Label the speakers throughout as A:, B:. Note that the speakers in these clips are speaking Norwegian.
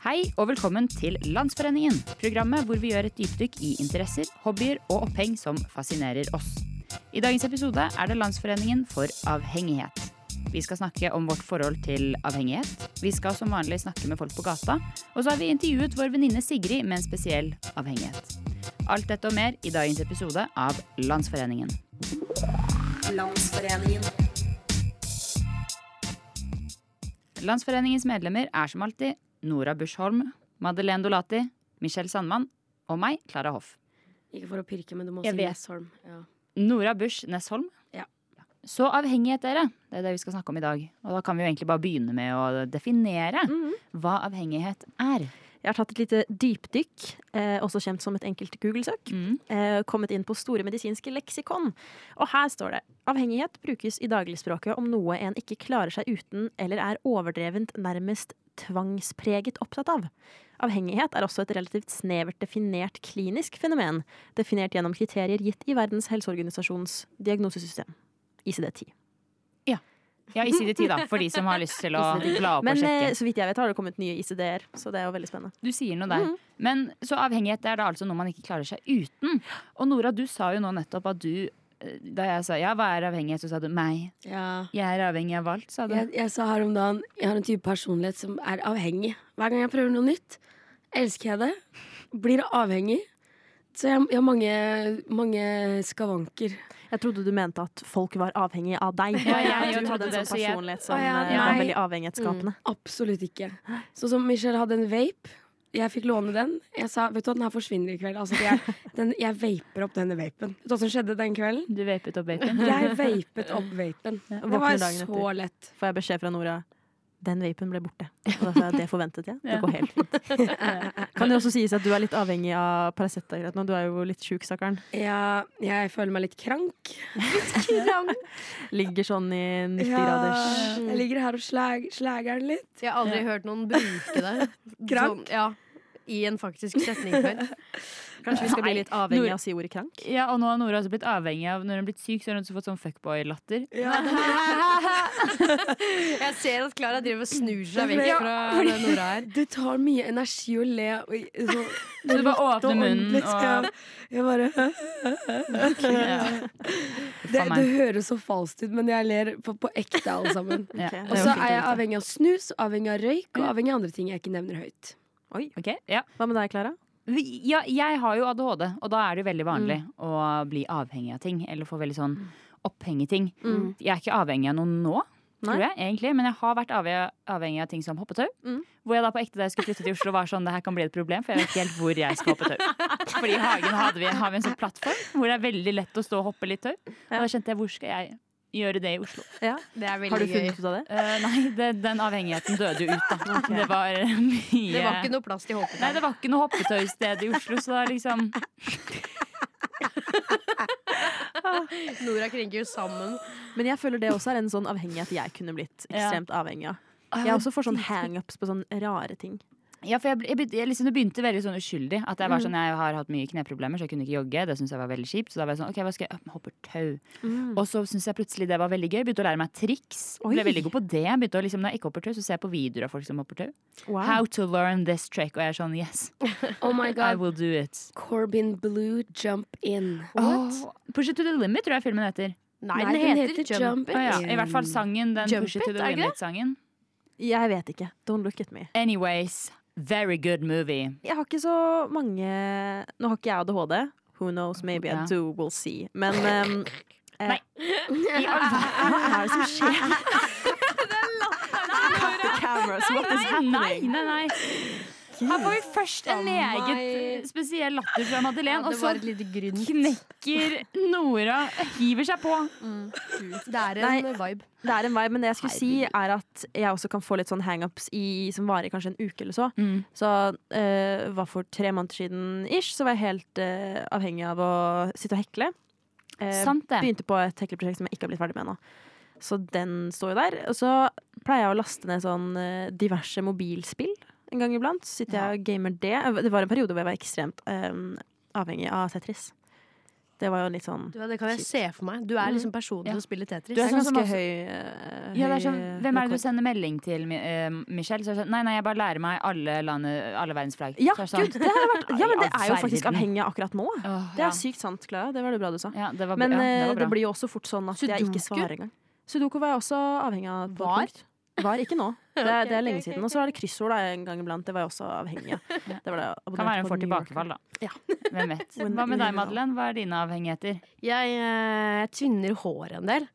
A: Hei og velkommen til Landsforeningen, programmet hvor vi gjør et dypdykk i interesser, hobbyer og oppheng som fascinerer oss. I dagens episode er det Landsforeningen for avhengighet. Vi skal snakke om vårt forhold til avhengighet. Vi skal som vanlig snakke med folk på gata. Og så har vi intervjuet vår venninne Sigrid med en spesiell avhengighet. Alt dette og mer i dagens episode av Landsforeningen.
B: Landsforeningen.
A: Landsforeningens medlemmer er som alltid Nora Busch Holm, Madeleine Dolati, Michelle Sandmann og meg, Klara Hoff.
B: Ikke for å pirke, men du må
A: Jeg
B: si
A: vet.
B: Nesholm. Ja.
A: Nora Busch Nessholm.
B: Ja.
A: Så avhengighet, dere. Det er det vi skal snakke om i dag. Og da kan vi jo egentlig bare begynne med å definere hva avhengighet er.
C: Mhm. Jeg har tatt et lite dypdykk, eh, også kjent som et enkelt Google-søk.
A: Mm.
C: Eh, kommet inn på Store medisinske leksikon. Og her står det avhengighet brukes i dagligspråket om noe en ikke klarer seg uten eller er overdrevent nærmest tvangspreget opptatt av. Avhengighet er også et relativt snevert definert klinisk fenomen, definert gjennom kriterier gitt i Verdens helseorganisasjons diagnosesystem, ICD-10.
A: Ja, i side ti, da, for de som har lyst til å bla opp
C: Men
A: og
C: eh,
A: sjekke.
C: så vidt jeg vet, har det kommet nye ICD-er, så det er jo veldig spennende.
A: Du sier noe der. Men så avhengighet er da altså noe man ikke klarer seg uten. Og Nora, du sa jo nå nettopp at du eh, da jeg sa ja, hva er avhengighet, så sa du meg.
B: Ja.
A: Jeg er avhengig av alt, sa du.
D: Jeg, jeg sa her om dagen jeg har en type personlighet som er avhengig. Hver gang jeg prøver noe nytt, elsker jeg det. Blir avhengig. Så jeg, jeg har mange, mange skavanker.
C: Jeg trodde du mente at folk var avhengig av deg.
A: Ja, jeg- jeg
C: du
A: trodde
C: hadde en
A: det,
C: sånn
A: så jeg-
C: personlighet som
D: Å, ja,
C: eh, var
D: nei.
C: veldig avhengighetsskapende.
A: Mm.
D: Absolutt ikke. Sånn som Michelle hadde en vape. Jeg fikk låne den. Jeg sa vet du hva, den her forsvinner i kveld. Altså, jeg, den, jeg vaper opp denne vapen. Vet du hva som skjedde den kvelden?
A: Du vapet opp vapen.
D: Jeg vapet opp vapen. Det
C: Våkner
D: var
C: dagen
D: så
C: etter.
D: lett.
C: Får jeg beskjed fra Nora den vapen ble borte. Og da sa jeg, det forventet jeg. Det
A: Ja.
C: går helt fint. Kan det også sies at du er litt avhengig av Paracet akkurat nå? Du er jo litt sjuk, stakkaren.
D: Ja, jeg føler meg litt krank. Litt krank.
C: Ligger sånn i 90
D: Ja,
C: graders
D: jeg ligger her og slag, slager den litt.
B: Jeg har aldri hørt noen bruke det
D: Krank?
B: som- ja, i en faktisk setning før.
C: Kanskje vi skal bli
A: Nei,
C: litt avhengig
A: Nora-
C: av å si ordet krank?
A: Ja, og nå har Nora også blitt avhengig av Når hun har blitt syk, så har hun også fått sånn fuckboy-latter.
B: Jeg ser at Klara driver og snur seg
D: Det er
B: vekk
D: fordi-
B: fra
D: Ja, fordi-
B: det Nora her.
D: Det tar mye energi å le. Og, i- så,
A: Så du bare åpner
D: og
A: munnen
D: ordentlig
A: og
D: skal jeg bare
A: ja.
D: det,
A: meg.
D: det høres så falskt ut, men jeg ler på, på ekte, alle sammen.
A: Ja.
C: Ok, det
D: Og
C: var
D: så
C: fint å
D: er jeg
C: vite.
D: avhengig av snus, avhengig av røyk og avhengig av andre ting jeg ikke nevner høyt.
C: Oi.
A: Ok, ja.
C: Hva med deg, Klara?
A: Vi- ja, jeg har jo ADHD, og da er det jo veldig vanlig å bli avhengig av ting. Eller få veldig sånn oppheng i ting.
C: Mm.
A: Jeg er ikke avhengig av noe nå, tror
C: Nei.
A: jeg, egentlig. Men jeg har vært avhe- avhengig av ting som hoppetau.
C: Mm.
A: Hvor jeg da på ekte da jeg skulle flytte til Oslo var sånn, det her kan bli et problem, for jeg vet ikke helt hvor jeg skal hoppe tau. Fordi i hagen hadde vi, har vi en sånn plattform hvor det er veldig lett å stå og hoppe litt tau. Og da kjente jeg, hvor skal jeg gjøre det i Oslo?
C: Ja.
B: Det er
C: Har du
B: veldig gøy.
C: funnet ut av det?
A: Eh, nei, det, den avhengigheten døde jo ut, da.
C: Ok.
A: Det var eh, mye
B: Det var ikke noe plass til
A: Nei,
B: håpet.
A: det var ikke noe hoppetøysted i Oslo, så da liksom
B: Nora krenker jo sammen.
C: Men jeg føler det også er en sånn avhengighet jeg kunne blitt
A: Ja.
C: ekstremt avhengig av. Jeg også får sånn hangups på sånne rare ting.
A: Ja, for jeg, ble- jeg, begynte- jeg liksom, Det begynte veldig sånn uskyldig. At Jeg var sånn, jeg har hatt mye kneproblemer, så jeg kunne ikke jogge. Det syntes jeg var veldig kjipt. Så da var jeg sånn, ok, hva skal jeg Ja, men hopper tau. Og så syntes jeg plutselig det var veldig gøy. Begynte å lære meg triks. Ble
C: Oi.
A: veldig god på det. Begynte å liksom, Når jeg ikke hopper tau, så ser jeg på videoer av folk som hopper tau.
C: Wow.
A: How to learn this trick. Og jeg er sånn, yes,
D: Oh my
A: I
D: god.
A: will do it.
D: Corbin Blue, jump in.
A: Åh, Push it to the limit, tror jeg filmen heter.
B: Nei, den heter Jump.
A: Å ja, I hvert fall sangen, den
B: Jump
A: Push it to
B: It,
A: the
B: er det ikke det?
A: limit-sangen.
C: Jeg vet ikke. Don't look at me.
A: Anyways, very good movie.
C: Jeg har ikke så mange Nå har ikke jeg ADHD. Who knows, maybe
A: Ja.
C: I do, we'll see. Men ehm, eh,
A: Nei. I all verden.
C: hva er det som skjer? Cut the cameras, what is
A: Nei,
C: happening?
A: nei, nei. Her får vi først en
B: Faen
A: meget eh,
B: meg.
A: spesiell latter fra
B: Ja,
A: Madeleine, og
B: det var
A: så
B: et lite grunn.
A: knekker Nora, hiver seg på.
B: Det er en vibe.
C: Det er en vei, men det jeg skulle si er at jeg også kan få litt sånn hangups i, som varer kanskje en uke eller så.
A: Mm.
C: Så eh, var for tre måneder siden ish, så var jeg helt eh, avhengig av å sitte og hekle. Eh,
A: Sant det.
C: Begynte på et hekleprosjekt som jeg ikke har blitt ferdig med ennå. Så den står jo der. Og så pleier jeg å laste ned sånn eh, diverse mobilspill en gang iblant. Så sitter jeg og gamer det. Det var en periode hvor jeg var ekstremt eh, avhengig av eh, Tetris. Det var jo litt sånn
B: Du, ja, det kan jeg se for meg. Du er liksom personen
A: Ja.
B: som spiller Tetris.
C: Du er
A: sånn
C: ganske
A: som også-
C: høy, eh,
A: Ja, det er
C: høy,
A: sånn,
C: eh,
A: Hvem er det
C: rekord.
A: du sender melding til, Mi- eh, Michelle? Så er det sånn, nei, nei, jeg bare lærer meg alle, landet, alle verdens flagg.
C: Ja,
A: Så er det sånn,
C: gud, det har vært Ja, men det er jo faktisk
A: Verden.
C: avhengig av akkurat nå.
A: Åh,
C: Det
A: ja.
C: er sykt sant, Clara. Det var det bra du sa.
A: Ja, det var,
C: Men
A: ja, det,
C: eh,
A: var
C: det
A: bra.
C: blir jo også fort sånn at jeg ikke
B: Sudoku?
C: svarer engang. Sudoku var jeg også avhengig av. på et
B: Var?
C: punkt. Var ikke nå. Det er, det er lenge
B: ok, ok,
C: siden. Og så er det kryssord da, en gang iblant. Det var jeg også avhengig av. Det var det
A: kan være hun
C: jeg abonnerte på
A: får
C: New Yorker.
A: tilbakefall, da.
C: Ja.
A: Hvem vet.
C: When-
A: Hva
C: when
A: med
C: you
A: deg,
C: know.
A: Madeleine? Hva er dine avhengigheter?
B: Jeg eh, tvinner håret en del.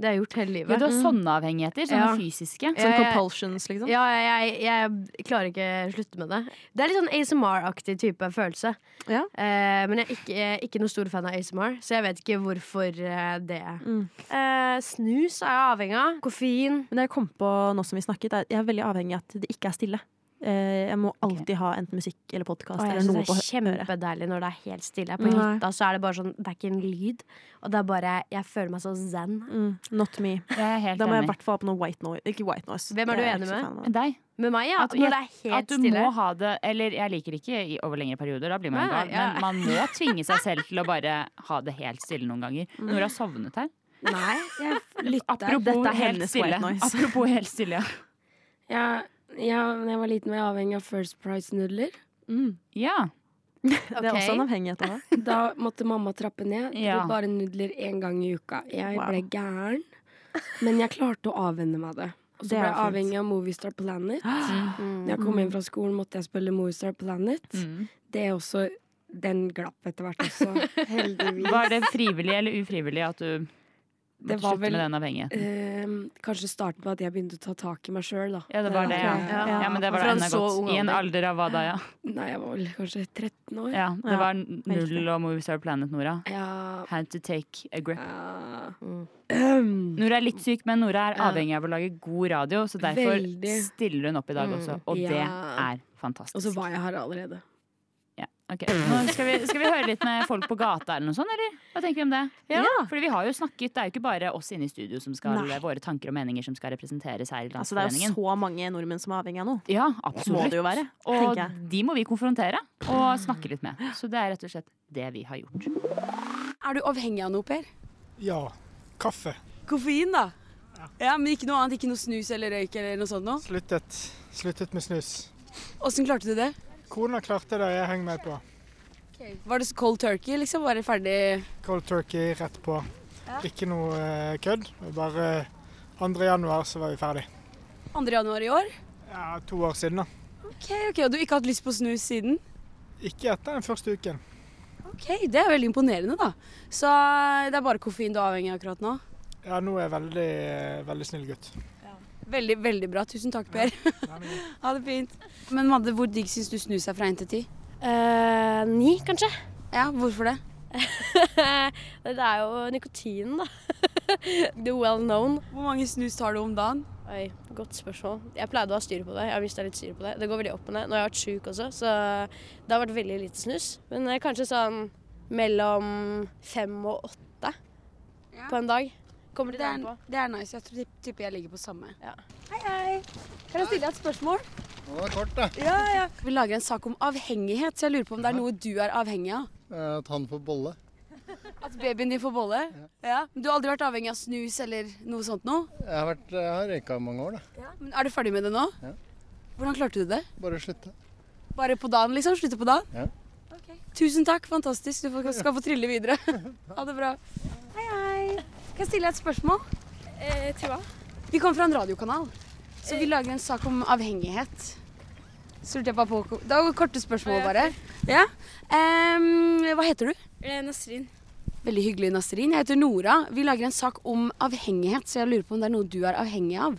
B: Det har jeg gjort hele
A: Ja,
B: livet. Mm.
A: du har sånne avhengigheter. Sånne
B: Ja.
A: fysiske.
C: Sånn
B: Jeg-
C: compulsions, liksom.
B: Ja, jeg, jeg, jeg klarer ikke å slutte med det. Det er litt sånn ASMR-aktig type følelse.
C: Ja.
B: Eh, men jeg er ikke, jeg er ikke noen stor fan av ASMR, så jeg vet ikke hvorfor eh, det.
C: Mm.
B: Eh, snus er jeg avhengig av. Koffein.
C: Men det jeg kom på nå som vi snakket, er jeg er veldig avhengig av at det ikke er stille. Eh, Jeg må alltid ha enten musikk eller podkast
B: Å, jeg
C: eller
B: synes
C: noe på hø-
B: det er
C: øret.
B: kjempedeilig når det er helt stille. På
C: Nei.
B: hytta så er det bare sånn, det er ikke en lyd. Og det er bare, jeg føler meg så zen.
C: Mm, not me.
A: Jeg er helt
C: Da må jeg i
A: enig.
C: hvert fall ha på noe white noise. Ikke white noise.
B: Hvem er du
C: Jeg
B: enig
C: ikke så
B: med?
C: fan av det.
A: Med deg.
B: Med meg, ja.
A: At-
B: Når det er
A: At
B: helt
A: du
B: stille.
A: må ha det Eller jeg liker ikke i, over lengre perioder, da blir man jo
B: Nei,
A: gal.
B: ja.
A: Men man må tvinge seg selv til å bare ha det helt stille noen ganger. Nora har sovnet her.
D: Nei, jeg lytter.
A: Apropos
C: dette er
A: helt
C: hennes
A: stille.
C: white noise.
A: Apropos helt stille, ja.
D: Jeg, jeg, når jeg var liten, var jeg avhengig av First Price-nudler.
C: Mm.
A: ja.
C: Det er
B: Ok.
C: også en avhengighet av det.
D: Da måtte mamma trappe ned. Det
A: Ja.
D: ble bare nudler én gang i uka. Jeg
C: Wow.
D: ble gæren, men jeg klarte å avvenne meg det. Og så
C: Det er
D: ble jeg
C: fint.
D: avhengig av Movistar Planet.
C: Altså,
B: Mm.
D: Når jeg kom hjem fra skolen, måtte jeg spille Movistar Planet.
A: Mm.
D: Det er også Den glapp etter hvert også, heldigvis.
A: Var det frivillig eller ufrivillig at du måtte
D: var
A: slutte
D: vel-
A: med den avhengigheten?
D: Ehm, kanskje starten på at jeg begynte å ta tak i meg sjøl, da.
A: Ja, det var det, ja.
D: var-
A: Ja, men det var
B: Fra
A: det
B: en
A: enda
B: så ung
A: godt. I en
B: alder.
A: alder av hva da, ja?
D: Nei, jeg var vel kanskje 13 år.
A: ja det
C: Ja,
A: var null og Movistar Planet, Nora.
D: Ja,
A: How to take a grip.
D: ja.
A: Nora er litt syk, men Nora er
B: Ja.
A: avhengig av å lage god radio, så derfor
D: Veldig.
A: stiller hun opp i
C: Mm,
A: dag også, og
D: Ja.
A: det er
D: Og så
A: fantastisk.
D: var jeg her allerede.
A: Ja, ok. Nå skal, vi, skal vi høre litt med folk på gata eller noe sånt, eller? Hva tenker vi om det?
C: Ja.
A: Fordi vi har jo snakket, det er jo ikke bare oss inne i studio som skal,
D: Nei.
A: våre tanker og meninger som skal representeres her i
C: Altså, det er jo
A: Landsforeningen.
C: så mange nordmenn som er avhengig av noe.
A: Ja,
C: Må
A: absolutt.
C: det jo være,
A: Og
C: tenker jeg.
A: de må vi konfrontere og snakke litt med. Så det er rett og slett det vi har gjort.
E: Er du avhengig av noe, Per?
F: Ja. Kaffe.
E: Koffein, da. Ja, Men ikke noe annet? Ikke noe snus eller røyk eller noe sånt noe?
F: Sluttet. Sluttet med snus.
E: Åssen klarte du det?
F: Kona klarte det, jeg henger meg på.
E: Var det så cold turkey, liksom? Bare ferdig
F: Cold turkey rett på. Ikke noe eh, kødd. Det var Bare 2. januar så var vi ferdig.
E: 2. januar i år?
F: Ja, to år siden, da.
E: Ok, ok, Og du har ikke hatt lyst på snus siden?
F: Ikke etter den første uken.
E: Ok, Det er veldig imponerende, da. Så eh, det er bare koffein du er avhengig av akkurat nå?
F: Ja, nå er jeg veldig, eh, veldig snill gutt.
E: Veldig, veldig bra. Tusen takk, Per. Ha det fint. Men Madde, hvor digg syns du snus er fra 1 til 10?
G: Eh, ni, kanskje.
E: Ja, hvorfor det?
G: det er jo nikotinen, da. The well known.
E: Hvor mange snus tar du om dagen?
G: Oi, godt spørsmål. Jeg pleide å ha styr på det. Jeg har mista litt styr på det. Det går veldig opp og ned. Nå har jeg vært sjuk også, så det har vært veldig lite snus. Men eh, kanskje sånn mellom fem og åtte
E: Ja.
G: på en dag. Kommer
E: Det
G: litt
E: er,
G: an på.
E: det er nice. Jeg tror- tipper jeg ligger på samme.
G: Ja.
E: Hei, hei. Kan jeg stille deg et spørsmål?
H: Ja, det er kort, det.
E: Ja, ja. Vi lager en sak om avhengighet, så jeg lurer på om det er noe du er avhengig av.
H: Eh, At han får bolle.
E: At babyen din får bolle. Ja. Men du har aldri vært avhengig av snus eller noe sånt noe?
H: Jeg har, vært, jeg har røyka i mange år, da.
E: Men er du ferdig med det nå?
H: Ja.
E: Hvordan klarte du det?
H: Bare slutte.
E: Bare på dagen, liksom? Slutte på dagen?
H: Ja.
E: Ok. Tusen takk, fantastisk. Du får- skal få trille videre. Ha det bra. Hei, hei. Eh, Kan jeg stille deg et spørsmål?
G: til hva?
E: Vi kommer fra en radiokanal, så vi lager en sak om avhengighet. Så lurte jeg bare på Det var korte spørsmål, bare. Ja. Em, hva heter du?
G: Eh, Nasrin.
E: Veldig hyggelig, Nasrin. Jeg heter Nora. Vi lager en sak om avhengighet, så jeg lurer på om det er noe du er avhengig av.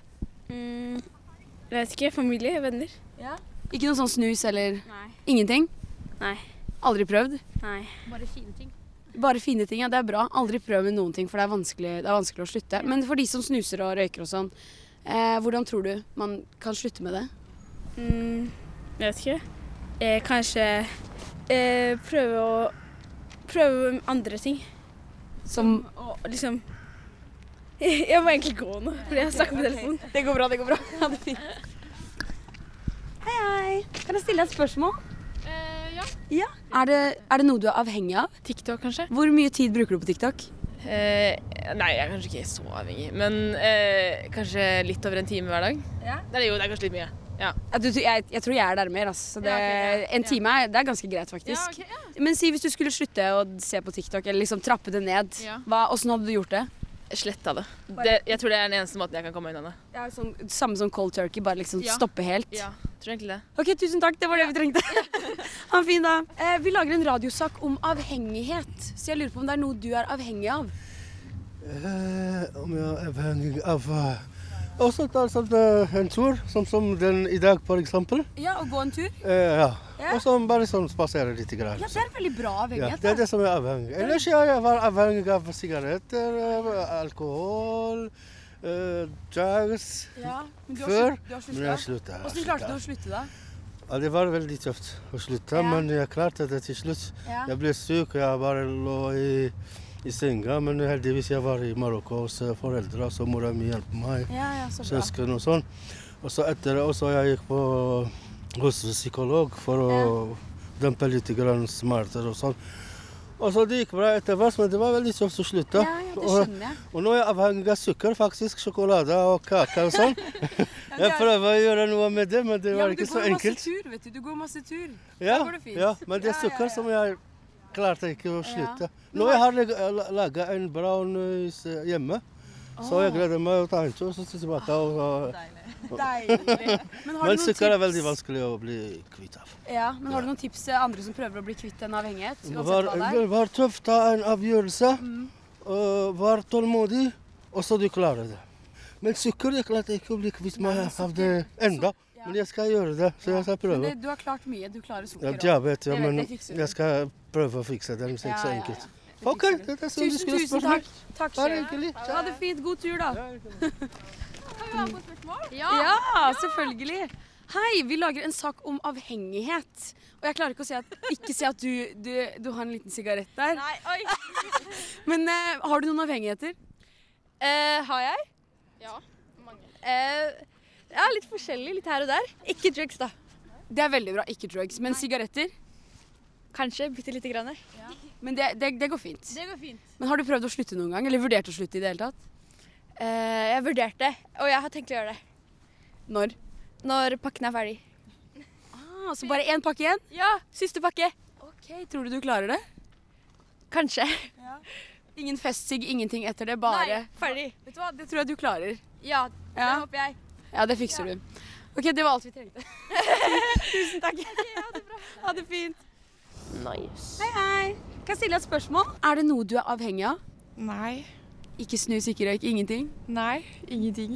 D: Mm.
G: Jeg vet ikke. Familie? Venner?
E: Ikke noe sånn snus eller
G: Nei.
E: ingenting?
G: Nei.
E: Aldri prøvd?
G: Nei.
E: Bare fine ting, ja. Det er bra. Aldri prøv med noen ting, for det er vanskelig, det er vanskelig å slutte. Men for de som snuser og røyker og sånn, eh, hvordan tror du man kan slutte med det?
D: Mm.
G: Jeg vet ikke. kanskje prøve å Prøve andre ting.
E: Som
G: Og liksom Jeg må egentlig gå nå, fordi jeg snakker på telefonen.
E: Det går bra, det går bra. Ha det fint. Hei, hei. Kan jeg stille deg et spørsmål?
G: ja.
E: Er det, er det noe du er avhengig av?
I: TikTok, kanskje?
E: Hvor mye tid bruker du på TikTok?
I: Eh, nei, jeg er kanskje ikke så avhengig, men eh, kanskje litt over en time hver dag. Eller jo, det er kanskje litt mye.
E: Ja, du, jeg, jeg tror jeg er der mer. Altså. Så Det, En time er, det er ganske greit, faktisk. Men si hvis du skulle slutte å se på TikTok, eller liksom trappe det ned.
I: Ja.
E: Hva, hvordan hadde du gjort det?
I: Sletta det. det. Jeg tror det er den eneste måten jeg kan komme unna det.
E: sånn, samme som cold turkey, bare liksom
I: Ja.
E: stoppe helt.
I: Tror egentlig det.
E: Ok, tusen takk. Det var det vi trengte. ha en fin dag. Eh, vi lager en radiosak om avhengighet, så jeg lurer på om det er noe du er avhengig av.
H: Eh, om jeg er avhengig av eh, Også altså, en tur, som, den i dag f.eks.
E: Ja, å gå en tur.
H: ja.
E: Ja.
H: Og så bare sånn spasere litt. Grann.
E: Ja, det er altså. veldig bra
H: Ja,
E: avhengighet.
H: det er det som er avhengig. Ellers ja, jeg var avhengig av sigaretter, eh, alkohol, eh, drugs
E: Ja, men du har
H: før.
E: slutt- du har sluttet.
H: Men jeg slutta. jeg
E: Hvordan klarte du
H: slutta.
E: å slutte, da?
H: Ja, det var veldig tøft å slutte,
E: Ja.
H: men jeg klarte det til slutt.
E: Ja.
H: Jeg ble syk, og jeg bare lå i, i senga, men heldigvis jeg var i Marokko hos eh, foreldre, så mora mi hjalp meg,
E: Ja, ja, så bra.
H: søsken og sånn. Og så etter det også jeg gikk på hos psykolog for å dempe litt grann smerter og sånn. Og så det gikk bra etter hvert, men det var veldig tøft å slutte.
E: Ja, ja, det
H: Og-
E: skjønner jeg.
H: og nå er jeg avhengig av sukker, faktisk. Sjokolade og kake og sånn. Jeg prøver å gjøre noe med det, men det
E: Ja,
H: var
E: men du
H: ikke så
E: går
H: enkelt.
E: masse tur, vet du. Du går masse tur.
H: Ja,
E: Da går det fint.
H: ja, men det er
E: Ja, ja,
H: sukker
E: ja.
H: som jeg klarte ikke å slutte.
E: Men
H: Nå
E: hva-
H: jeg har jeg laga en brown is hjemme, så jeg gleder meg å ta en tur og så tilbake. Og,
E: Deilig. Men har
H: men
E: du noen
H: sukker er veldig
E: tips-
H: vanskelig å bli kvitt av.
E: Ja, men har du noen tips til andre som prøver å bli kvitt en avhengighet?
H: Vær,
E: Uansett hva det er?
H: vær tøff, ta en avgjørelse.
E: Mm.
H: og vær tålmodig, og så du klarer det. Men sukker jeg klarte ikke å bli kvitt meg av det enda.
E: ja.
H: Men jeg skal gjøre det, så jeg skal
E: Men
H: prøve.
E: det, du har klart mye. Du klarer
H: Ja,
E: sukker også.
H: diabet, ja,
E: Jeg vet,
H: men
E: jeg fikser det.
H: jeg skal prøve å fikse det. Det er ikke
E: Ja,
H: så
E: ja, ja.
H: enkelt.
E: Det
H: OK,
E: fikser du.
H: det er sånn du
E: Tusen,
H: skulle
E: tusen
H: spurt
E: takk.
H: meg.
E: Takk
H: Bare
E: sjef.
H: hyggelig.
E: Ha det fint. God tur, da.
B: Ja.
E: Ja, selvfølgelig. Hei, vi lager en sak om avhengighet. Og jeg klarer ikke å si at, ikke si at du, du, du har en liten sigarett der. Nei, oi. Men eh, har du noen avhengigheter?
I: Eh, har jeg? Ja. Mange. ja, litt forskjellig. Litt her og der. Ikke drugs, da.
E: Det er veldig bra, ikke drugs, men sigaretter.
I: Kanskje bitte lite grann.
E: Men det, det, det går fint. Det går fint. Men har du prøvd å slutte noen gang? Eller vurdert å slutte i det hele tatt?
I: Eh, jeg vurderte, og jeg har tenkt å gjøre det.
E: Når?
I: Når pakken er ferdig.
E: Ah, så bare én pakke igjen?
I: Ja, siste pakke.
E: Ok, Tror du du klarer det?
I: Kanskje.
E: Ingen festsigg, ingenting etter det, bare
I: ferdig.
E: Vet du hva, det tror jeg du klarer.
I: Ja,
E: Ja,
I: håper jeg.
E: ja det fikser du. OK, det var alt vi trengte. Tusen takk. Ha det fint.
G: Nice.
E: Hei, kan jeg stille deg et spørsmål? Er det noe du er avhengig av?
I: Nei.
E: Ikke snus, ikke røyk, ingenting?
I: Nei, ingenting.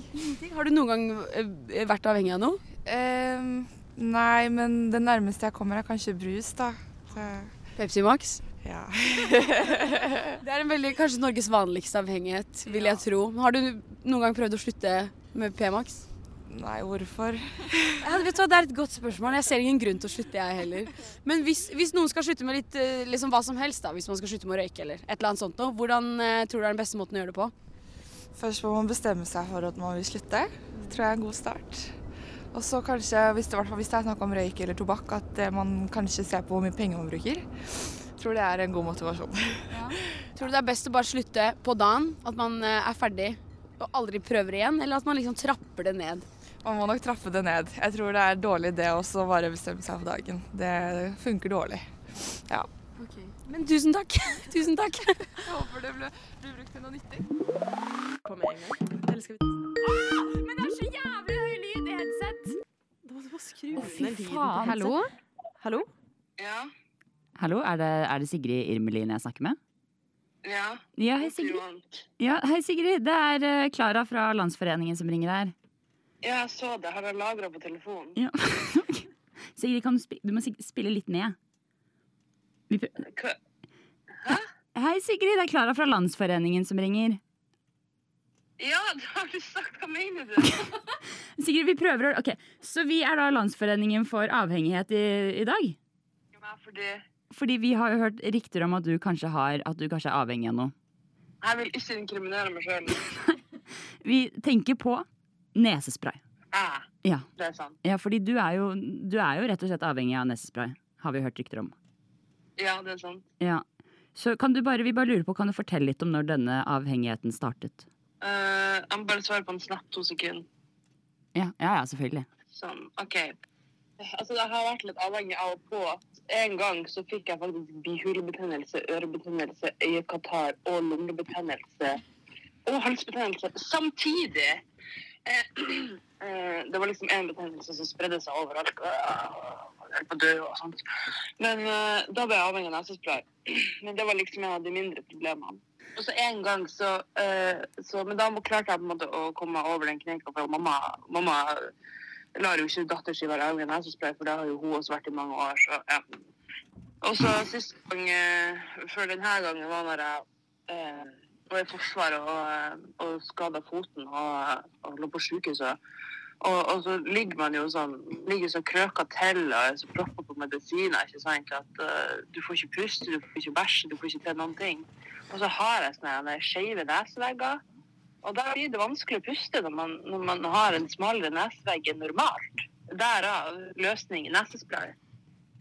E: Har du noen gang eh, vært avhengig av noe?
I: Ehm, nei, men det nærmeste jeg kommer, er kanskje brus, da. Så,
E: Pepsi Max?
I: ja.
E: Det er en veldig, kanskje Norges vanligste avhengighet, vil jeg tro. Har du noen gang prøvd å slutte med P-Max?
I: Nei, hvorfor?
E: Ja, vet du hva, Det er et godt spørsmål. Jeg ser ingen grunn til å slutte, jeg heller. Men hvis, hvis noen skal slutte med litt, eh, liksom hva som helst, da, hvis man skal slutte med å røyke eller et eller annet sånt noe, hvordan eh, tror du er den beste måten å gjøre det på?
I: Først må man bestemme seg for at man vil slutte. Det tror jeg er en god start. Og så kanskje, hvis det, i hvert fall hvis det er snakk om røyk eller tobakk, at eh, man kanskje ser på hvor mye penger man bruker. Tror det er en god motivasjon.
E: Tror du det er best å bare slutte på dagen? At man eh, er ferdig og aldri prøver igjen? Eller at man liksom trapper det ned?
I: Man må nok trappe det ned. Jeg tror det er en dårlig idé også å bare bestemme seg for dagen. Det funker dårlig.
E: Men tusen takk. Tusen takk.
I: Jeg håper det blir, blir brukt til noe nyttig.
C: På med en gang. Eller skal vi Ah! Da må du bare skru
A: Å, fy
C: ned lyden på
A: faen.
C: headset.
B: Hallo?
C: Hallo?
A: Hallo, er det, er det Sigrid Irmelin jeg snakker med?
J: Ja,
A: Ja, hei Sigrid. Ja, hei Sigrid. Det er eh, Klara fra Landsforeningen som ringer her.
J: ja jeg så det. Har jeg lagra på telefonen?
A: Ja. ok. Sigrid, kan du, spi du må sik- spille litt med. Vi prø-
J: Hva-
A: Hei Sigrid, det er Klara fra Landsforeningen som ringer.
J: Ja, det har du sagt! Hva mener du?
A: Sigrid, vi prøver å... Ok, så vi er da Landsforeningen for avhengighet i, i dag.
J: Ja, Fordi
A: Fordi vi har jo hørt rykter om at du kanskje, har, at du kanskje er avhengig av noe.
J: jeg vil ikke inkriminere meg sjøl.
A: Vi tenker på nesespray.
J: Ah,
A: Ja.
J: det er sant.
A: Ja, fordi du er jo, du er jo rett og slett avhengig av nesespray. har vi hørt rykter om.
J: Ja, det er sant.
A: Ja. Så kan du bare, vi bare lurer på, kan du fortelle litt om når denne avhengigheten startet?
J: Eh, jeg må bare svare på en snap to sekunder.
A: Ja, ja, ja selvfølgelig.
J: Sånn, OK. Altså, jeg har vært litt avhengig av og på at en gang så fikk jeg faktisk bihulebetennelse, ørebetennelse, øyekatarr og lungebetennelse og halsbetennelse samtidig. Eh, eh, det var liksom én betennelse som spredde seg overalt. og Jeg holdt på å dø og sånt. Men eh, da ble jeg avhengig av nesespray. Men det var liksom en av de mindre problemene. Og så en gang så, eh, så Men da må- klarte jeg på en måte å komme meg over den kneika, for mamma, mamma lar jo ikke datteren sin være avhengig av nesespray, for det har jo hun også vært i mange år. Så, ja. Og så sist gang eh, før denne gangen var når jeg eh, var i Forsvaret og, eh, og skada foten og, og lå på sjukehuset. Og, og så ligger man jo sånn ligger sånn krøka til og er så proppa på medisiner ikke sant, at eh, du får ikke puste, du får ikke bæsje, du får ikke til noen ting. Og så har jeg sånne her skeive nesevegger. Og da blir det vanskelig å puste når man, når man har en smalere nesevegg enn normalt. Derav løsning nesespray.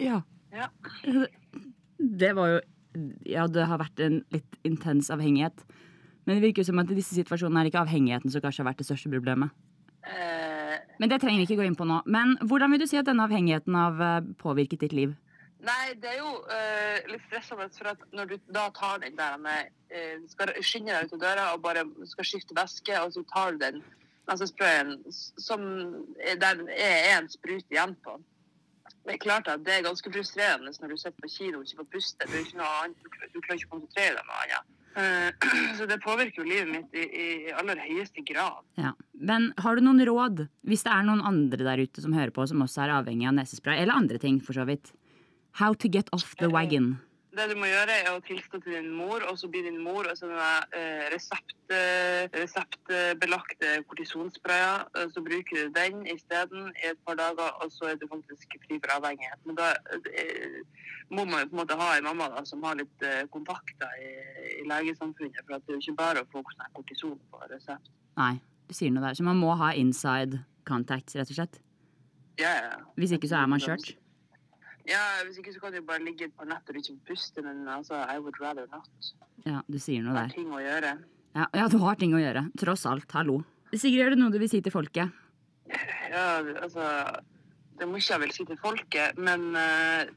A: Ja.
J: Ja.
A: Det var jo Ja, det har vært en litt intens avhengighet. Men det virker jo som at i disse situasjonene er det ikke avhengigheten som kanskje har vært det største problemet.
J: Eh,
A: Men det trenger vi ikke gå inn på nå. Men hvordan vil du si at denne avhengigheten har eh, påvirket ditt liv?
J: Nei, det er jo eh, litt stressende, for at når du da tar den der med eh, Skal skynde deg ut av døra og bare skal skifte væske, og så tar du den nesesprayen s- som er- der den er er en sprut igjen på. Det er klart at det er ganske frustrerende når du sitter på kino og ikke får puste. Det er jo ikke noe annet, du kl- du klarer ikke å konsentrere deg om noe annet. Eh, så det påvirker jo livet mitt i, i aller høyeste grad.
A: Ja. Men har du noen råd, hvis det er noen andre der ute som hører på, som også er avhengig av nesespray, eller andre ting for så vidt? How to get off the wagon.
J: Det du må gjøre, er å tilstå til din mor, og så blir din mor og så denne eh, resept, eh, reseptbelagte kortisonsprayer. eh, Så bruker du den isteden i et par dager, og så er du faktisk fri for avhengighet. Men da eh, må man jo på en måte ha en mamma da, som har litt eh, kontakter i, i legesamfunnet, for at det er jo ikke bare å få sånn her kortison på resept.
A: Nei, du sier noe der. Så man må ha inside contacts, rett og slett.
J: Ja, ja, ja.
A: Hvis ikke så er man kjørt.
J: Ja, Hvis ikke så kan du bare ligge et par netter og ikke puste, men altså, I would rather not.
A: Ja, du sier noe
J: Det
A: der.
J: er ting å gjøre.
A: Ja, ja, du har ting å gjøre. Tross alt. Hallo. Sigrid, er det noe du vil si til folket?
J: Ja, altså Det må ikke jeg vel si til folket, men eh,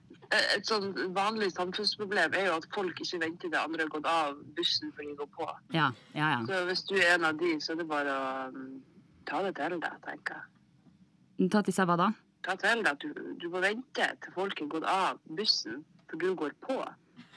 J: et sånn vanlig samfunnsproblem er jo at folk ikke venter til andre har gått av bussen før de går på.
A: Ja, ja, ja.
J: Så hvis du er en av de, så er det bare å mm, ta det til deg, tenker jeg.
A: Ta til seg hva da?
J: Ta til deg at du, du må vente til folk har gått av bussen før du går på.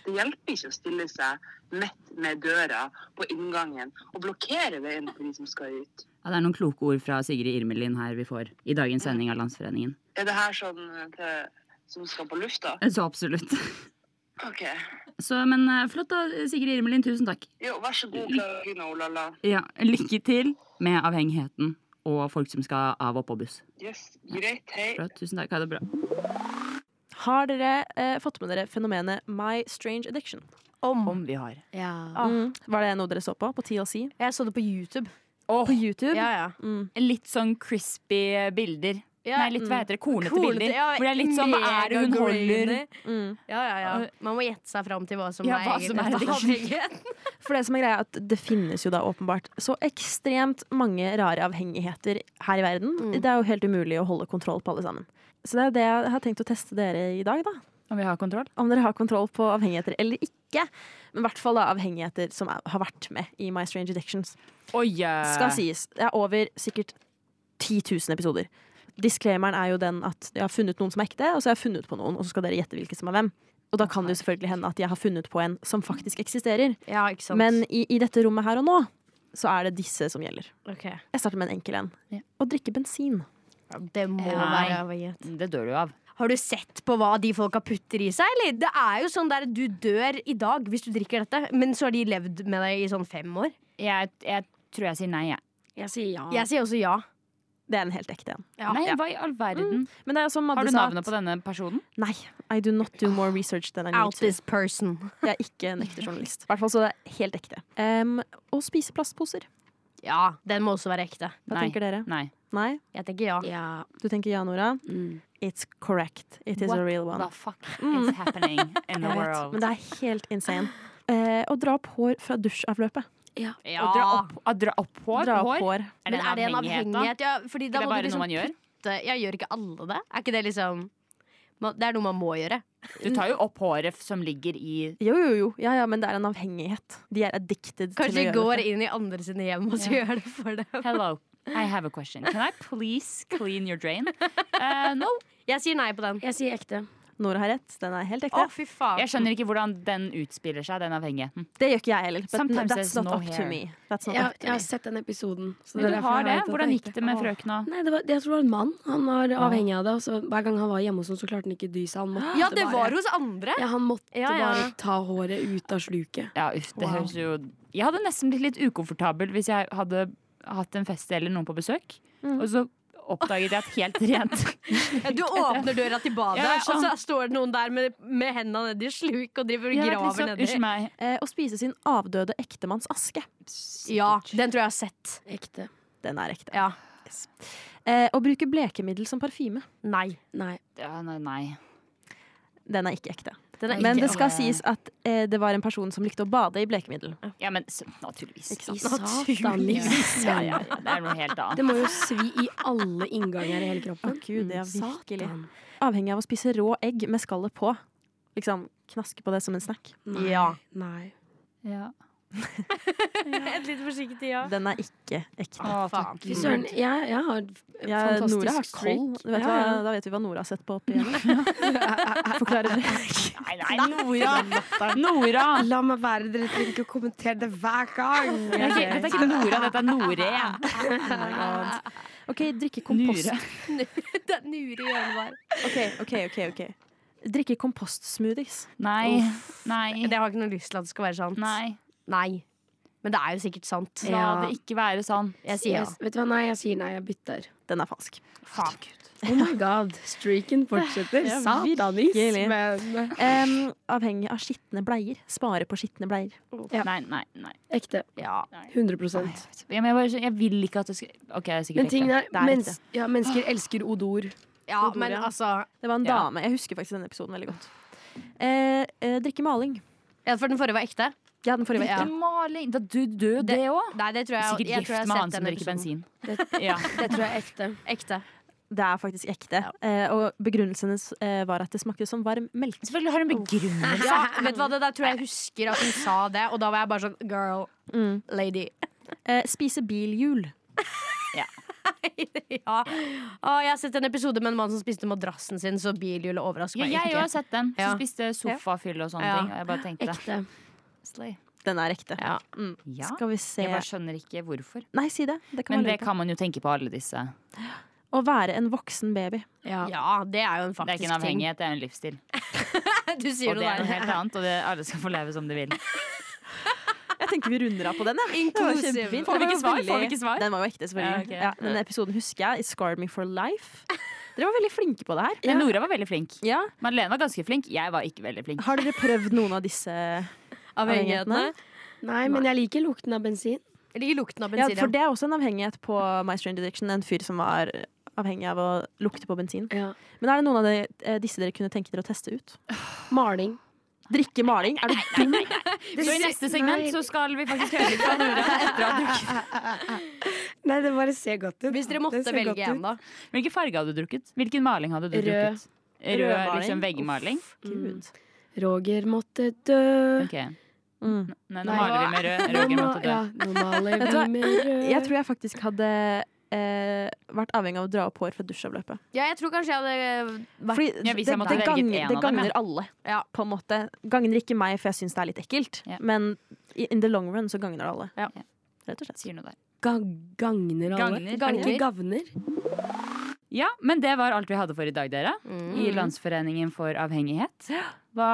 J: Det hjelper ikke å stille seg midt med døra på inngangen og blokkere veien for de som skal ut.
A: Ja, det er noen kloke ord fra Sigrid Irmelin her vi får i dagens sending av Landsforeningen.
J: Er det her sånn til, som skal på lufta?
A: Så absolutt.
J: OK.
A: Så, men eh, flott da, Sigrid Irmelin. Tusen takk.
J: Jo, vær så god, Karina Olala.
A: Ja, lykke til med avhengigheten og folk som skal av og på buss.
J: Yes, greit, hei.
A: Flott, tusen takk. Ha det bra.
C: Har dere eh, fått med dere fenomenet My Strange Addiction?
B: Om.
A: vi har.
C: Ah, Var det noe dere så på? På TLC?
B: Jeg så det på YouTube.
C: På YouTube?
B: Ja, ja.
K: Litt sånn crispy bilder. Nei, litt, hva heter det? Kornete
B: Kornete,
K: bilder.
B: ja,
K: hvor det er litt sånn Hva er det hun holder?
B: megagrainy.
C: Mm.
B: Ja, ja, ja. Man må gjette seg fram til hva som
K: Ja,
B: er
K: hva som er
B: egentlig
K: addiction.
C: For det som er greia er at det finnes jo da åpenbart så ekstremt mange rare avhengigheter her i verden. Det er jo helt umulig å holde kontroll på alle sammen. Så det er det jeg har tenkt å teste dere i dag, da.
A: Om vi har kontroll?
C: Om dere har kontroll på avhengigheter eller ikke. Men i hvert fall da avhengigheter som er, har vært med i My Strange Addictions. Skal sies. Det er over sikkert 10 000 episoder. Disclaimeren er jo den at jeg har funnet noen som er ekte, og så har jeg funnet på noen, og så skal dere gjette hvilken som er hvem. Og da kan det jo selvfølgelig hende at jeg har funnet på en som faktisk eksisterer.
B: Ja, ikke sant.
C: Men i, i dette rommet her og nå, så er det disse som gjelder.
B: Ok.
C: Jeg starter med en enkel en. Å drikke bensin.
B: Det må
C: Nei.
B: være avhengighet.
A: Det dør du av.
B: Har du sett på hva de folka putter i seg, eller? Det er jo sånn der du dør i dag hvis du drikker dette, men så har de levd med deg i sånn fem år.
K: Jeg, tror jeg sier nei, jeg.
D: Jeg sier ja.
B: Jeg sier også ja.
C: Det er en helt ekte en.
K: Nei, hva i all verden?
C: Men det er jo som Madde
K: Har du
C: sa
K: navnet
C: at-
K: på denne personen?
C: Nei. I do not do more research than I need
B: Out
C: to.
B: this person.
C: Jeg er ikke en ekte journalist. I hvert fall så det er helt ekte. Em, å spise plastposer.
B: Ja, den må også være ekte.
C: Hva tenker dere?
A: Nei.
C: Nei?
B: Jeg tenker ja.
D: Ja.
C: Du tenker ja, Nora? It's correct. It is
A: What
C: a real one.
A: the fuck is
C: Mm.
A: happening in the
C: Jeg vet,
A: world?
C: Men det er helt insane. Eh, å dra opp hår fra dusjavløpet.
D: Ja.
A: Å dra opp, å dra opp hår?
C: Dra opp
A: hår?
C: hår.
A: Er det
B: Men
A: en avhengighet, da?
B: Ja, fordi da
A: Ikke det
B: må du
A: bare
B: liksom
A: noe man gjør?
B: Putte, ja, gjør ikke alle det? Er ikke det liksom man- Det er noe man må gjøre.
A: Du tar jo opp håret f- som ligger i
C: Jo, jo, jo. Ja, ja, men det er en avhengighet. De er addicted
B: Kanskje
C: til
B: de
C: å gjøre
B: går
C: dette.
B: inn i andre sine hjem og så
A: Ja.
B: gjør det for dem.
A: Hello, I have a question. Can I please clean your drain? Eh, no.
B: Jeg sier nei på den.
D: Jeg sier ekte.
C: Nora har rett. Den er helt ekte.
A: Å, fy faen. Jeg skjønner ikke hvordan den utspiller seg, den avhengigheten.
C: Det gjør ikke jeg heller. But
A: Sometimes
C: that's
A: there's
C: not
A: no
C: up to
A: hair.
C: me. That's not
D: Jeg,
C: up to
D: jeg har
C: me.
D: sett den episoden. så
A: Men
D: det er
A: du
D: derfor
A: har
D: jeg
A: det?
D: vet at
A: Hvordan
D: jeg
A: gikk
D: ikke-
A: det med frøkena?
D: Nei, det var, Jeg tror det var en mann. Han var avhengig av det. Og så, hver gang han var hjemme hos noen, så klarte han ikke dy seg. Han måtte
B: Ja, det
D: bare,
B: var hos andre.
D: ja, han måtte
B: Ja, ja.
D: bare ta håret ut av sluket.
A: Ja, uff, det
C: Wow.
A: høres jo Jeg hadde nesten blitt litt ukomfortabel hvis jeg hadde hatt en fest eller noen på besøk, og så oppdaget jeg at helt rent
B: Ja, Du åpner døra til badet,
A: Ja, ja,
B: og så står det noen der med, med hendene nedi sluk og driver og
A: Jeg har vært litt
B: graver
A: sånn, Unnskyld
B: nedi.
A: meg.
C: Eh, å spise sin avdøde ektemanns aske.
B: Ja, den tror jeg jeg har sett.
D: Ekte.
C: Den er ekte.
B: Ja.
C: Yes. Eh, å bruke blekemiddel som parfyme.
B: Nei.
D: Nei.
A: Ja, nei, nei.
C: Den er ikke ekte.
B: Den er
C: Men
B: ikke
C: det skal
A: ekte.
C: sies at eh, det var en person som likte å bade i blekemiddel.
A: Ja, men s- naturligvis.
D: I satan, liksom.
A: Ja, ja, ja, det er noe helt annet.
D: Det må jo svi i alle innganger i hele kroppen.
C: Gud, det er virkelig
D: Satan.
C: Avhengig av å spise rå egg med skallet på. Liksom knaske på det som en snack.
D: Nei.
B: Ja.
D: Nei.
A: Ja.
B: Et litt forsiktig ja.
C: Den er ikke ekte.
A: Å, takk.
D: Fy søren, jeg, jeg har en
C: Ja,
D: fantastisk
C: Nora har koll.
D: streak.
C: Du vet
D: Ja, ja.
C: hva, da vet vi hva Nora har sett på opp igjennom. Forklarer det.
A: Nei, nei, Nora! Nora!
D: La meg være, dere trenger ikke å kommentere det hver gang.
A: Det er ikke- Dette er ikke Nora, dette er Noré.
C: OK, drikke kompost.
A: Nure.
B: Den nurer i hjørnet der.
C: OK, OK, OK. ok Drikke kompostsmoothies.
A: Nei. Nei.
B: Det har jeg ikke noe lyst til at det skal være sant.
A: Nei.
B: Nei. Men det er jo sikkert sant.
A: La det ikke være sånn.
B: Jeg sier ja.
D: Jeg- Vet du hva, nei, jeg sier nei, jeg bytter.
C: Den er falsk.
A: Fuck.
D: Oh my god, streaken fortsetter.
C: Ja, virkelig.
D: Satanismen.
C: Em, avhengig av skitne bleier. Spare på skitne bleier.
D: Ja.
A: Nei, nei, nei.
D: Ekte.
B: ja.
D: 100
A: Ja, men jeg, bare, jeg vil ikke at det skal OK, det er sikkert
D: Men tingen
A: ekte.
D: er, mens, ja, mennesker elsker odor.
B: Ja, men altså
C: Det var en
A: Ja.
C: dame. Jeg husker faktisk denne episoden veldig godt. Eh, eh, drikke maling.
B: ja, For den forrige var ekte?
C: Ja, den forrige var
A: Ikke
C: ekte.
A: maling. Da du dør, det òg.
B: Nei, det tror jeg
A: Sikkert
B: jeg tror jeg
A: gift
B: har
A: med
B: sett
A: han som
B: den
A: drikker
B: episoden.
A: bensin. Ja.
D: Det tror jeg er ekte.
B: Ekte.
C: Det er faktisk ekte. Eh, og begrunnelsen hennes eh, var at det smakte som varm melk.
A: Selvfølgelig har hun begrunnelse.
B: Ja, vet du hva, Det der tror jeg husker at hun sa det, og da var jeg bare sånn girl,
A: Mm.
B: lady.
C: Eh, spise bilhjul.
B: Ja. Å, jeg har sett en episode med en mann som spiste madrassen sin, så bilhjulet overrasker
A: Ja,
B: meg
A: jeg har
B: egentlig.
A: sett den.
B: Ja.
A: Som spiste sofafyll og sånne
B: Ja.
A: ting. Og jeg bare tenkte
D: Ekte.
A: Slay.
C: Den er ekte.
B: Ja.
C: Mm.
A: Ja.
C: Skal vi se
A: Jeg bare skjønner ikke hvorfor.
C: Nei, si det. det kan
A: Men
C: være
A: det kan man jo tenke på alle disse.
C: Å være en voksen baby.
D: Ja.
B: Ja, det er jo en
A: Det er
B: faktisk
A: ikke en avhengighet, det er en livsstil.
B: ting. Du sier
A: Og det
B: noe
A: er noe
B: der.
A: helt annet, og det, alle skal få leve som de vil.
C: Jeg tenker vi runder av på den. jeg. Det var
B: Inklusiv.
C: kjempefint.
A: Får vi
C: Det var
A: ikke svar?
C: veldig-
A: Får vi ikke svar?
C: Den var jo ekte, selvfølgelig.
A: Ja, ok.
C: Ja, den episoden husker jeg. It scarred me for life. Dere var veldig flinke på det her.
A: Men Nora var veldig flink.
C: Ja.
A: Madeleine var ganske flink. Jeg var ikke veldig flink.
C: Har dere prøvd noen av disse
B: Avhengighetene.
C: avhengighetene?
D: Nei, men jeg liker lukten av bensin.
B: Jeg liker lukten av
C: Ja,
B: bensin.
C: for det er også en avhengighet på My Strange Addiction. En fyr som var avhengig av å lukte på bensin.
D: Ja.
C: Men er det noen av de, eh, disse dere kunne tenke dere å teste ut?
D: Maling.
C: Drikke maling? Er du dum?
A: Så i neste segment så skal vi faktisk høre litt fra Nora. Etter å ha drukket.
D: Nei, det bare ser godt ut.
B: Hvis dere måtte
D: Det ser
B: velge
D: godt
B: en,
D: ut.
B: da.
A: Hvilken farge hadde du drukket? Hvilken maling hadde du
D: Rød.
A: drukket? Rød,
C: Rødmaling?
A: liksom veggmaling?
C: Uff, Gud.
D: Roger måtte dø.
A: Ok.
C: Mm.
A: Nei, nå
D: Nei.
A: maler vi med rød. Roger
D: Nå-
A: måtte dø.
D: Ja, nå maler
C: Vet du hva?
D: vi med rød.
C: Jeg tror jeg faktisk hadde eh, vært avhengig av å dra opp hår fra dusjavløpet.
B: Ja, jeg tror kanskje jeg hadde eh, vært
C: Fordi
A: Ja,
C: det,
A: hvis jeg måtte
C: det,
A: velge
C: gagner-
A: en
C: det
A: av dem,
C: gagner
A: ja.
C: alle, på en måte. Gagner ikke meg, for jeg syns det er litt ekkelt.
A: Ja.
C: Men i- in the long run så gagner det alle.
B: Ja.
C: Rett og slett.
A: Sier noe der.
D: Ga gagner alle.
A: Gagner.
D: Er det ikke gavner?
A: Ja, men det var alt vi hadde for i dag, dere.
B: Mm.
A: I Landsforeningen for avhengighet. Hva,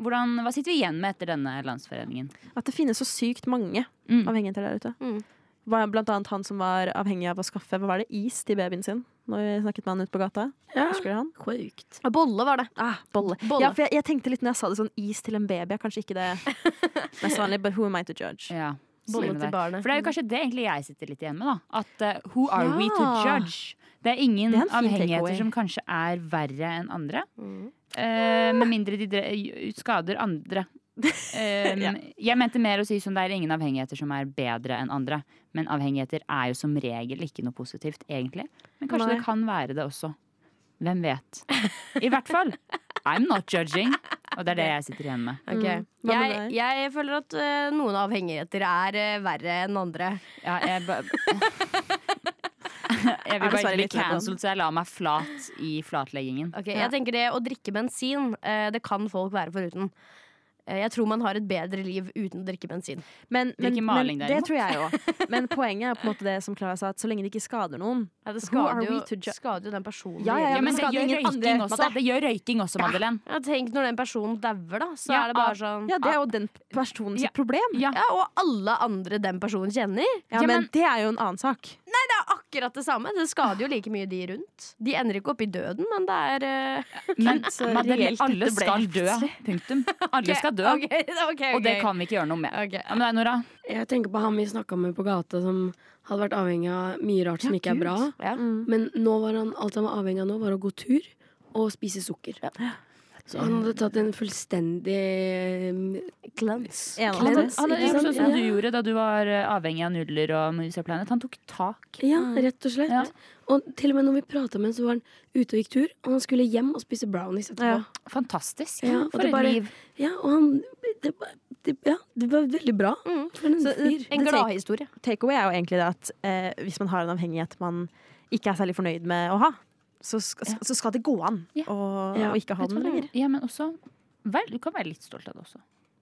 A: hvordan, hva sitter vi igjen med etter denne landsforeningen?
C: At det finnes så sykt mange
A: Mm.
C: avhengigheter der ute.
B: Mm.
C: Var Blant annet han som var avhengig av å skaffe hva var det, is til babyen sin. Når vi snakket med han ute på gata.
D: Ja.
C: Husker dere han?
D: Sjukt.
B: Bolle var det.
C: Ah, bolle.
B: Bolle.
C: Ja, for jeg, jeg tenkte litt når jeg sa det sånn is til en baby. er Kanskje ikke det mest vanlig, but who am I to judge?
A: Ja,
B: Bolle
A: sier noe
B: til
A: der.
B: barnet.
A: For det er jo kanskje det egentlig jeg sitter litt igjen med. da At eh, Who are we to
C: Ja.
A: judge? Det er ingen
K: Det er en fin takeaway.
A: avhengigheter som kanskje er verre enn andre.
B: Mm.
A: Eh, med mindre de dre skader andre. Eh, Jeg mente mer å si som det er ingen avhengigheter som er bedre enn andre. Men avhengigheter er jo som regel ikke noe positivt, egentlig. Men kanskje
K: Nei.
A: det kan være det også. Hvem vet. I hvert fall. I'm not judging. Og det er det jeg sitter igjen med.
B: Ok.
C: Mm.
B: Jeg, jeg føler at eh, noen avhengigheter er eh, verre enn andre.
A: Ja, jeg, ba jeg vil bare ikke bli cancelled, så jeg la meg flat i flatleggingen.
B: Ok, Jeg tenker det å drikke bensin, eh, det kan folk være foruten. Eh, Jeg tror man har et bedre liv uten å drikke bensin.
C: Men, men,
B: Drikke
C: men
B: maling,
C: det
B: derimot.
C: tror jeg òg. Men poenget er på en måte det som Klara sa, at så lenge det ikke skader noen
B: Ja, det
C: who are
B: skader jo,
C: we to ju-
B: skader jo den personen.
C: Ja, ja, ja, men
A: det gjør røyking også. Det gjør røyking også, Madeleine.
B: Ja, tenk når den personen dauer, da. Så
C: Ja,
B: er det bare
C: av-
B: sånn
C: ja, det er jo den personens problem.
B: Ja. Og alle andre den personen kjenner.
C: Ja, men, det er jo en annen sak.
B: Nei, det er akkurat det samme. Det skader jo like mye de rundt. De ender ikke opp i døden, men det er eh,
A: Men
B: så
A: Madeleine,
B: reelt
A: alle
B: dette ble
A: skal dø.
B: plutselig.
A: Punktum. Alle skal dø.
B: Ok, ok,
A: Og det
B: ok.
A: kan vi ikke gjøre noe med. Ja, men det er Nora.
D: Jeg tenker på han vi snakka med på gata som hadde vært avhengig av mye rart som
A: Ja,
D: ikke er
A: Gud.
D: bra.
A: Ja. Mm.
D: Men nå var han, alt han var avhengig av nå, var å gå tur og spise sukker. Så han hadde tatt en mm, fullstendig
B: Cleanse.
A: Han hadde, han hadde gjort sånn som du gjorde da du var eh, avhengig av nudler og Musa Planet. Han tok tak.
D: mm. Ja, rett og slett. Og til og med når vi prata med han, så var han ute og gikk tur. Og han skulle hjem og spise brownies etterpå.
A: Fantastisk.
D: Ja, og
A: For
D: det
A: et
D: bare-
A: liv.
D: Ja, og han det, var- det, ja, det var veldig bra. For Mm. en
C: Så,
D: fyr.
C: the take- Takeaway er jo egentlig det at eh, hvis man har en avhengighet man ikke er særlig fornøyd med å ha, så, sk så skal det gå an å å ikke ha
A: Vet du
C: den
A: hva?
C: lenger.
A: Ja, men også Vel, du kan være litt stolt av det også.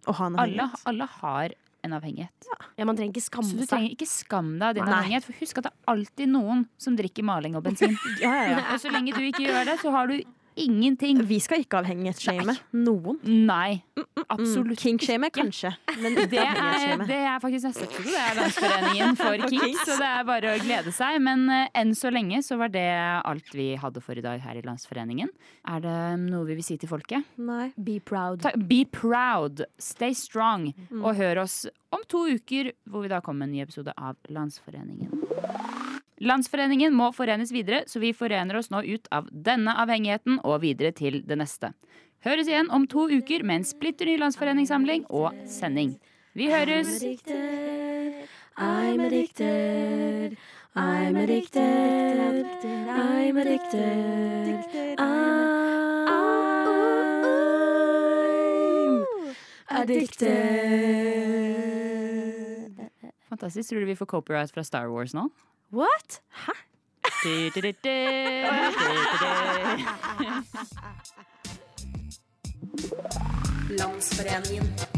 C: Å ha en
A: Alle,
C: avhengighet.
A: alle har en avhengighet.
B: Ja, Man trenger ikke
D: altså,
B: skamme
A: Så du
B: seg.
A: trenger ikke skam deg av din
B: Nei.
A: avhengighet. For husk at det er alltid noen som drikker maling og bensin.
C: Ja, ja, ja.
A: Og så lenge du ikke gjør det, så har du
D: Mm,
A: ingenting.
C: Vi skal ikke avhengighetsshame noen.
A: Nei. Absolutt
C: Kinkshame kanskje, men ikke
A: det er,
C: avhengighetsshame.
A: det er faktisk neste episode. Det er Landsforeningen for
C: For
A: Kinks,
C: Kinks.
A: så det er bare å glede seg. Men eh, enn så lenge så var det alt vi hadde for i dag her i Landsforeningen. Er det noe vi vil si til folket?
C: Nei.
B: Be proud.
A: Ta, be proud, stay strong, og hør oss om to uker, hvor vi da kommer med en ny episode av Landsforeningen. Landsforeningen må forenes videre, så vi forener oss nå ut av denne avhengigheten og videre til det neste. Høres igjen om to uker med en splitter ny landsforeningssamling og sending. Vi høres!
D: I'm addicted. I'm addicted. I'm addicted. I'm addicted.
A: Fantastisk. Tror du vi får copyright fra Star Wars nå?
B: What?
A: Hæ? Du-du-du-du.
L: Landsforeningen.